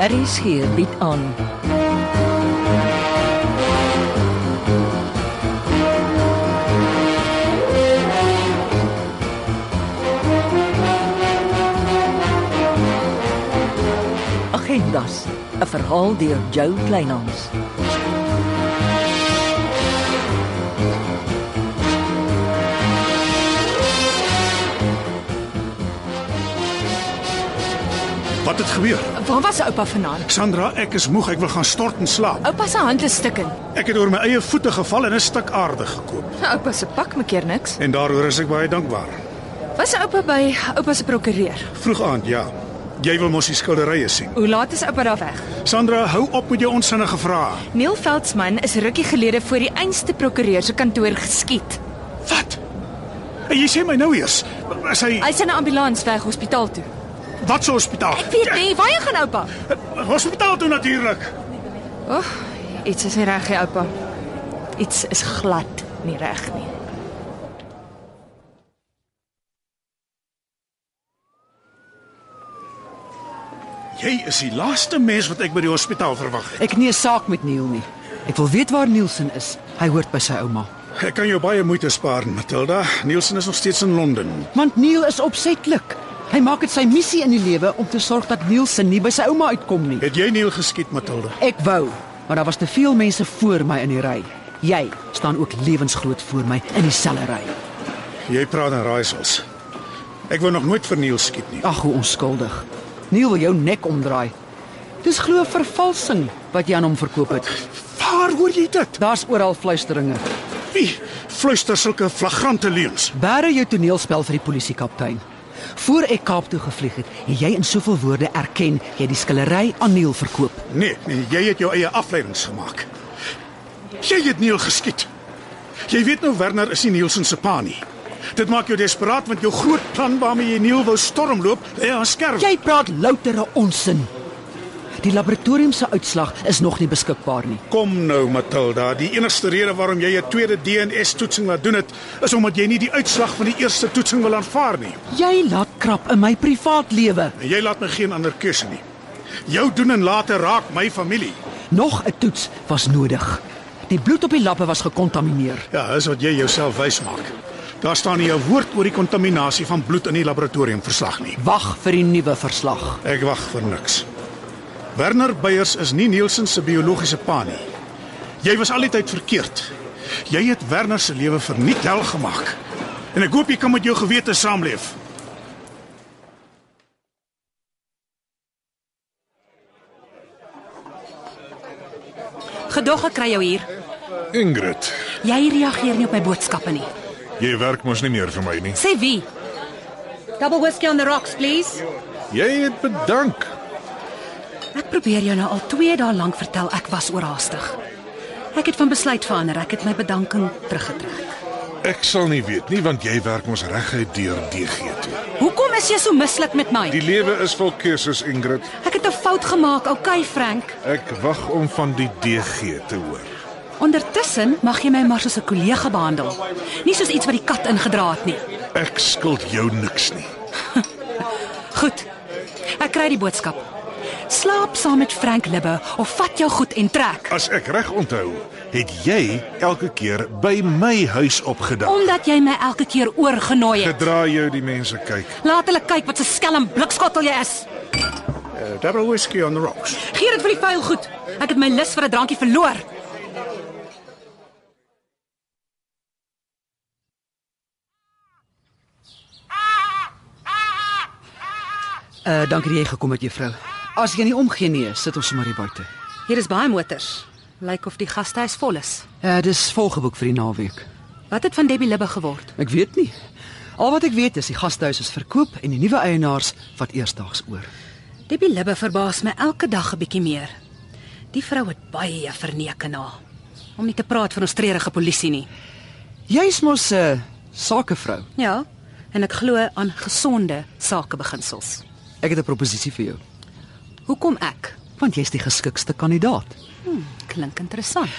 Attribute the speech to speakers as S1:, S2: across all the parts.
S1: RSG bied aan. Agendas, 'n verhaal deur Jo Kleinhans.
S2: Wat het gebeur?
S3: Waar was oupa vanaand?
S2: Sandra, ek is moeg. Ek wil gaan stort en slaap.
S3: Oupa se hand is stikken.
S2: Ek het oor my eie voete geval en 'n stuk aarde gekoop.
S3: Ja, Oupa se pak maak keer niks.
S2: En daaroor is ek baie dankbaar.
S3: Was oupa by oupa se prokureur?
S2: Vroeg aand, ja. Jy wil mos die skilderye sien.
S3: Hoe laat is oupa daar weg?
S2: Sandra, hou op met jou onsinnige vrae.
S3: Neil Veldsmann is rukkie gelede voor die einste prokureur se kantoor geskiet.
S2: Wat? En jy sê my nou eers. As hy
S3: Hy's in 'n ambulans weg hospitaal toe.
S2: wat se hospitaal?
S3: Ek weet nie waar gaan oupa.
S2: Eh, Hospitaal toe natuurlik.
S3: Oeg, iets is nie reg hier oupa. Iets is glad nie reg nie.
S2: Jy is die laaste mens wat ek by die hospitaal verwag het.
S4: Ek nie 'n saak met Neil nie. Ek wil weet waar Nielsen is. Hy hoort by sy ouma.
S2: Ek kan jou baie moeite spaar, Matilda. Nielsen is nog steeds in Londen.
S4: Want Neil is opsetlik. Hy maak dit sy missie in die lewe om te sorg dat Nielsen nie by sy ouma uitkom nie.
S2: Het jy Niel geskiet, Matilda?
S4: Ek wou, maar daar was te veel mense voor my in die ry. Jy staan ook lewensgroot voor my in dieselfde ry.
S2: Jy praat in raaisels. Ek wou nog nooit vir Niel skiet nie.
S4: Ag, hoe onskuldig. Neil wil jou nek omdraai. Dis glo vervalsing wat jy aan hom verkoop het.
S2: Waar hoor jy dit?
S4: Daar's oral fluisteringe.
S2: Wie fluister sulke flagrante leuns?
S4: Bære jou toneelspel vir die polisie kaptein. Voor ek Kaap toe gevlieg het, het jy in soveel woorde erken jy die skillery aan Neil verkoop.
S2: Nee, nee, jy het jou eie afleidings gemaak. Jy het Neil geskiet. Jy weet nou Werner is nie Nielsen se pa nie. Dit maak jou desperaat want jou groot plan waarmee jy Neil wou stormloop, lê aan skerp.
S4: Jy praat loutere onsin. Die laboratorium se uitslag is nog nie beskikbaar nie.
S2: Kom nou Matilda, die enigste rede waarom jy 'n tweede DNS-toetsing laat doen het, is omdat jy nie die uitslag van die eerste toetsing wil aanvaar nie.
S4: Jy laat krap in my privaat lewe.
S2: En jy laat my geen ander keuse nie. Jou doen en later raak my familie.
S4: Nog 'n toets was nodig. Die bloed op die lappe was gekontamineer.
S2: Ja, dis wat jy jouself wys maak. Daar staan nie 'n woord oor die kontaminasie van bloed in die laboratoriumverslag nie.
S4: Wag vir die nuwe verslag.
S2: Ek wag vir niks. Werner Beyers is nie Nielsen se biologiese pa nie. Jy was al die tyd verkeerd. Jy het Werner se lewe verniet hel gemaak. En ek hoop jy kan met jou gewete saamleef.
S5: Gedog ek kry jou hier.
S6: Ingrid,
S5: Jy reageer nie op my boodskappe nie.
S6: jy werk mos nie meer vir my nie.
S5: Sê wie?
S7: Double whiskey on the rocks, please.
S6: Jy het bedank.
S5: Ek probeer jou nou al 2 dae lank vertel ek was oorhaastig. Ek het van besluit verander. Ek het my bedanking teruggetrek.
S6: Ek sal nie weet nie want jy werk mos reguit deur DG toe.
S5: Hoekom is jy so mislik met my?
S6: Die lewe is vol keuses, Ingrid.
S5: Ek het 'n fout gemaak, okay Frank.
S6: Ek wag om van die DG te hoor.
S5: Ondertussen mag jy my maar soos 'n kollega behandel. Nie soos iets wat die kat ingedra het nie.
S6: Ek skuld jou niks nie.
S5: Goed. Ek kry die boodskap. Slaap saam met Frank Libbe of vat jou goed en trek.
S6: As ek reg onthou, het jy elke keer by my huis opgedag.
S5: Omdat jy my elke keer oorgenooi het.
S6: Gedra jou die mense kyk.
S5: Laat hulle kyk wat 'n skelm blikskottel jy is.
S2: Uh, double whiskey on the rocks.
S5: Gee dit vir die vuil goed. Ek het my lus vir 'n drankie verloor.
S4: Uh dankie dat jy gekom het, juffrou. As jy nie omgee nie, sit ons sommer hier buite.
S5: Hier is baie motors. Lyk of die gastehuis vol is.
S4: Uh dis volgeboek vir die naweek.
S5: Wat het van Debbie Libbe geword?
S4: Ek weet nie. Al wat ek weet is die gasthuis is verkoop en die nuwe eienaars vat eersdaags oor.
S5: Debbie Libbe verbaas my elke dag 'n bietjie meer. Die vrou het baie verneke na. Om nie te praat van ons treurige polisie nie.
S4: Jy's mos 'n uh, sakevrou.
S5: Ja, en ek glo aan gesonde sakebeginsels.
S4: Ek het 'n proposisie vir jou,
S5: Hoekom ek?
S4: want jy's die geskikste kandidaat.
S5: Hm, klink interessant.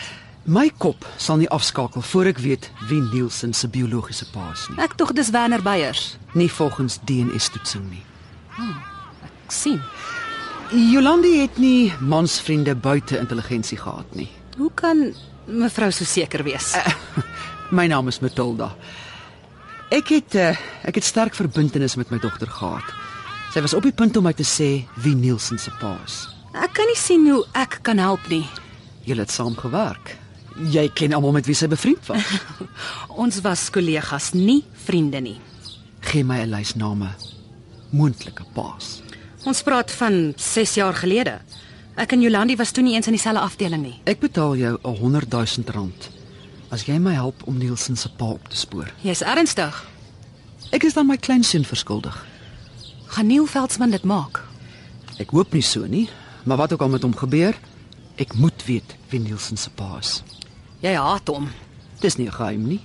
S4: My kop sal nie afskakel voor ek weet wie Nielsen se biologiese pa is nie.
S5: Ek tog dis Werner Beyers.
S4: Nie volgens DNA-toetsing nie.
S5: Ek sien.
S4: Jolandi het nie mansvriende buite intelligensie gehad nie.
S5: Hoe kan mevrou so seker wees?
S4: My naam is Matilda. Ek het eh, ek het sterk verbintenis met my dogter gehad. Sy was op die punt om my te sê wie Nielsen se pa is.
S5: Ek kan nie sien hoe ek kan help nie.
S4: Julle het saam gewerk. Jy ken almal met wie sy bevriend was.
S5: Ons was kollegas, nie vriende nie.
S4: Gee my 'n lys name. Moontlike paas.
S5: Ons praat van 6 jaar gelede. Ek en Jolandi was toe nie eens in dieselfde afdeling nie.
S4: Ek betaal jou 'n 100 000 rand as jy my help om Nielsen se pa op te spoor.
S5: Jy's ernstig.
S4: Ek is dan my kleinseun verskuldig.
S5: Gaan Neil Veldsmann dit maak?
S4: Ek hoop nie so nie, maar wat ook al met hom gebeur, ek moet weet wie Nielsen se pa is.
S5: Jy haat hom.
S4: Dis nie 'n geheim nie.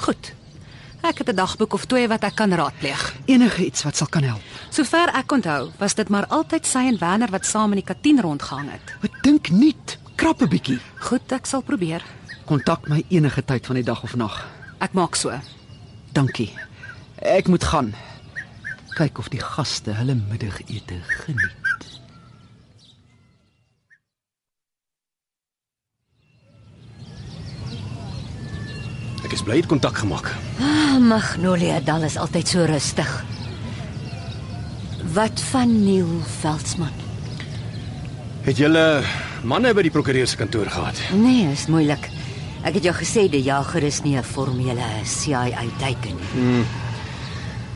S5: Goed. Ek het 'n dagboek of twee wat ek kan raadpleeg.
S4: Enige iets wat sal kan help.
S5: Sover ek onthou, was dit maar altyd sy en Werner wat saam in die kantien rondgehang het.
S4: Ek dink nie, krap 'n bietjie.
S5: Goed, ek sal probeer.
S4: Kontak my enige tyd van die dag of nag.
S5: Ek maak so.
S4: Dankie. Ek moet gaan. Kyk of die gaste hulle middagete geniet.
S8: Ek is bly het kontak gemaak.
S1: Ah, Magnolia Dal is altyd so rustig. Wat van Neil Veldsmann?
S8: Het julle manne by die prokureur se kantoor gehad?
S1: Nee, is moeilik. Ek het jou gesê die jager is nie 'n formele CIA teken nie.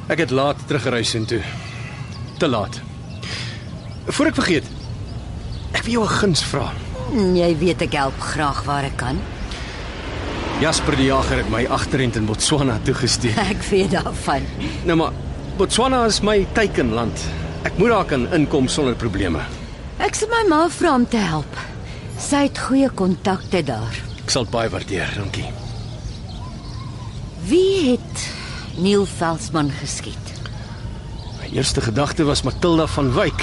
S8: Ek het laat teruggery sin toe. Te laat. Voor ek vergeet. Ek wil jou 'n guns vra.
S1: Hmm, Jy weet ek help graag waar ek kan.
S8: Jasper die Jager het my agterend in Botswana toegestuur.
S1: Ek weet daarvan.
S8: nou maar Botswana is my teikenland. Ek moet daar kan inkom sonder probleme.
S1: Ek sal my ma vra om te help. Sy het goeie kontakte daar.
S8: Ek sal dit baie waardeer, dankie.
S1: Wie het Neil Veldsmann geskiet?
S8: My eerste gedagte was Matilda van Wyk,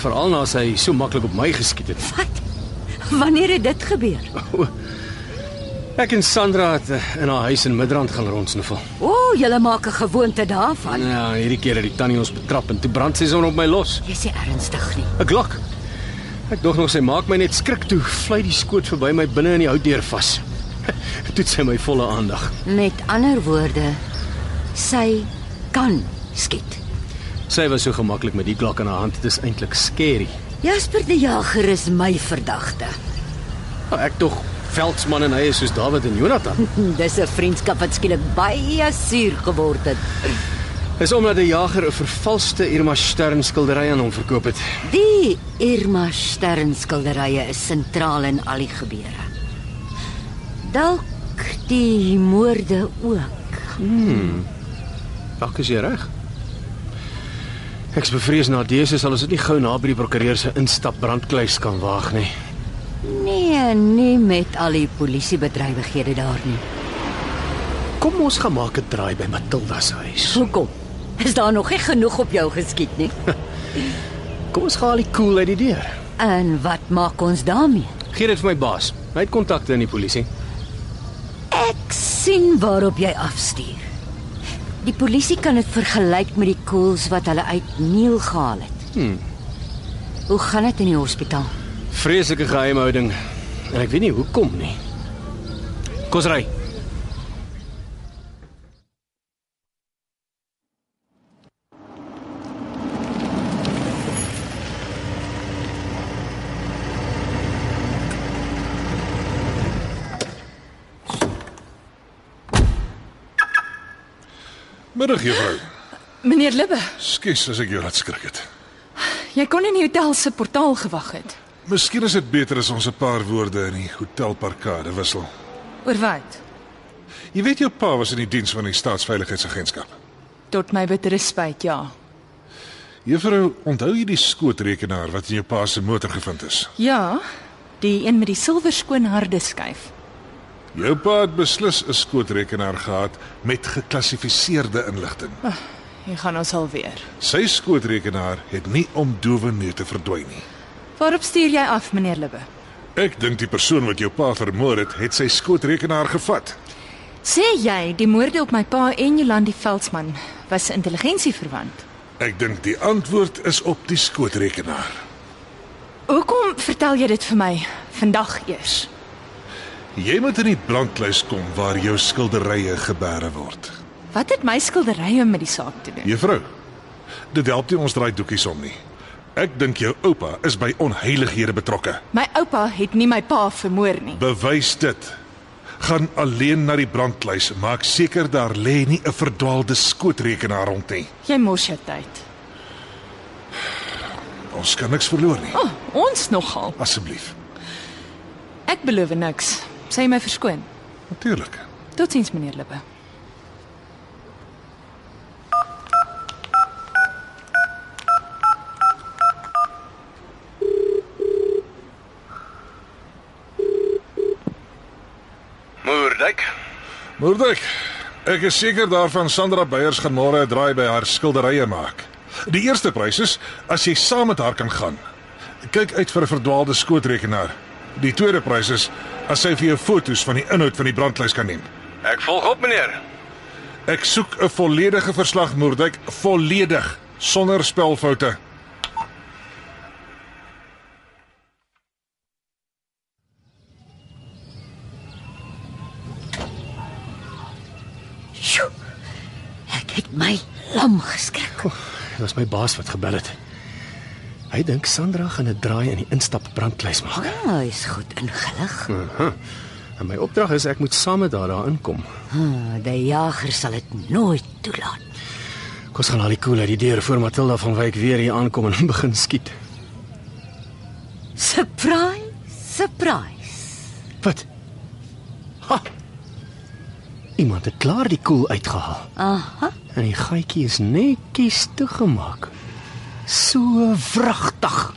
S8: veral na sy so maklik op my geskiet het.
S1: Wat? Wanneer het dit gebeur?
S8: Ek en Sandra het eh, in haar huis in Midrand gaan rondsniffel.
S1: O, oh, jy maak 'n gewoonte daarvan.
S8: Ja, hierdie keer het die tannie ons betrap en toe brand sy son op my los.
S1: Jy sê ernstig nie.
S8: 'n Glok. Ek dog nog sy maak my net skrik toe, vlei die skoot verby my binne in die houtdeur vas. toe het sy my volle aandag.
S1: Met ander woorde, sy kan skiet.
S8: Sy was so gemaklik met die glok in haar hand, dit is eintlik skerry.
S1: Jasper die Jager is my verdagte.
S8: Nou, ek tog veldsman en hy is soos Dawid en Jonatan.
S1: Hmm, Dis 'n vriendskap wat skielik baie suur geword het.
S8: Dis omdat die jager 'n vervalste Irma Stern skildery aan hom verkoop het.
S1: Die Irma Stern skilderye is sentraal in al die gebeure. Dalk die moorde ook.
S8: Dalk is jy reg. Ek is bevrees na dese sal ons dit nie gou na by die prokureur se instap brandkluis kan waag nie.
S1: Nee, nie met al die polisiebedrywighede daar nie.
S8: Kom ons gaan maak 'n draai by Matilda se huis.
S1: Hoekom? Is daar nog nie genoeg op jou geskiet nie?
S8: Kom ons gaan al die cool uit die deur.
S1: En wat maak ons daarmee?
S8: Gee dit vir my baas. Hy het kontakte in die polisie.
S1: Ek sien waarop jy afstuur. Die polisie kan dit vergelyk met die koels wat hulle uit Neil gehaal het. Hm. Hoe gaan dit in die hospitaal?
S8: Vreeslike geheimhouding. En ek weet nie hoekom nie. Kom ons ry.
S2: Middag juffrou.
S3: Meneer Libbe,
S2: Skus as ek jou laat skrik het.
S3: jy kon nie in die hotel se portaal gewag het.
S2: Miskien is dit beter as ons 'n paar woorde in die hotelparkade wissel.
S3: Oor wat?
S2: Jy weet jou pa was in die diens van die staatsveiligheidsagentskap.
S3: Tot my bittere spyt, ja.
S2: Juffrou, onthou jy die skootrekenaar wat in jou pa se motor gevind is?
S3: Ja, die een met die silwer skoon harde skyf.
S2: Jou pa het beslis 'n skootrekenaar gehad met geklassifiseerde inligting.
S3: Jy gaan ons al weer.
S2: Sy skootrekenaar het nie om dowe neute verdwyn nie.
S3: Waarop stuur jy af, meneer Libbe?
S2: Ek dink die persoon wat jou pa vermoor het, het sy skootrekenaar gevat.
S3: Sê jy die moorde op my pa en Jolandi Veldsmann was intelligensie verwant?
S2: Ek dink die antwoord is op die skootrekenaar.
S3: Hoekom vertel jy dit vir my vandag eers?
S2: Jy moet in die blanklys kom waar jou skilderye gebeere word.
S3: Wat het my skilderye met die saak te doen?
S2: Juffrou, dit help nie ons draai doekies om nie. Ek dink jou oupa is by onheilighede betrokke.
S3: My oupa het nie my pa vermoor nie.
S2: Bewys dit. Gaan alleen na die brandkluis, maak seker daar lê nie 'n verdwaalde skootrekenaar rond nie.
S3: Jy mors jou tyd.
S2: Ons kan niks verloor nie.
S3: Oh, ons nogal.
S2: Asseblief.
S3: Ek beloof niks. Sê my verskoon.
S2: Natuurlik.
S3: Totsiens meneer Lippe.
S9: Moerdijk.
S2: Moordek. Ek is seker daarvan Sandra Beyers gaan môre 'n draai by haar skilderye maak. Die eerste prys is as jy saam met haar kan gaan. Kyk uit vir 'n verdwaalde skootrekenaar. Die tweede prys is as sy vir jou foto's van die inhoud van die brandlys kan neem.
S9: Ek volg op meneer.
S2: Ek soek 'n volledige verslag Moordek, volledig, sonder spelfoute.
S1: Sjoe. Ek het my lam geskrik.
S8: Dit was my baas wat gebel het. Hy dink Sandra gaan 'n draai in die instap brandklys maak.
S1: Ah, is goed ingelig.
S8: En my opdrag is ek moet saam met haar daar inkom.
S1: Ah, die jager sal dit nooit toelaat.
S8: Kom ons gaan al die koel uit die deur voor Matilda van Wyk weer hier aankom en begin skiet.
S1: Surprise, surprise.
S8: Wat? Ha. Iemand het klaar die koel uitgehaal
S1: Aha.
S8: en die gaatjie is netjies toegemaak. So wragtig.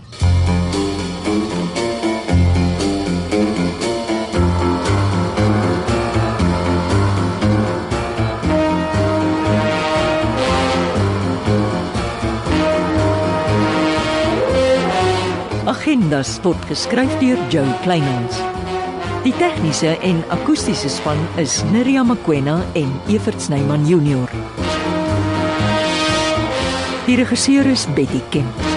S10: Agendas word geskryf deur Jo Kleinhans. Die tegniese en akoestiese span is Neriya Mkwena en Evert Snyman Junior. Die regisseur is Betty Kemp.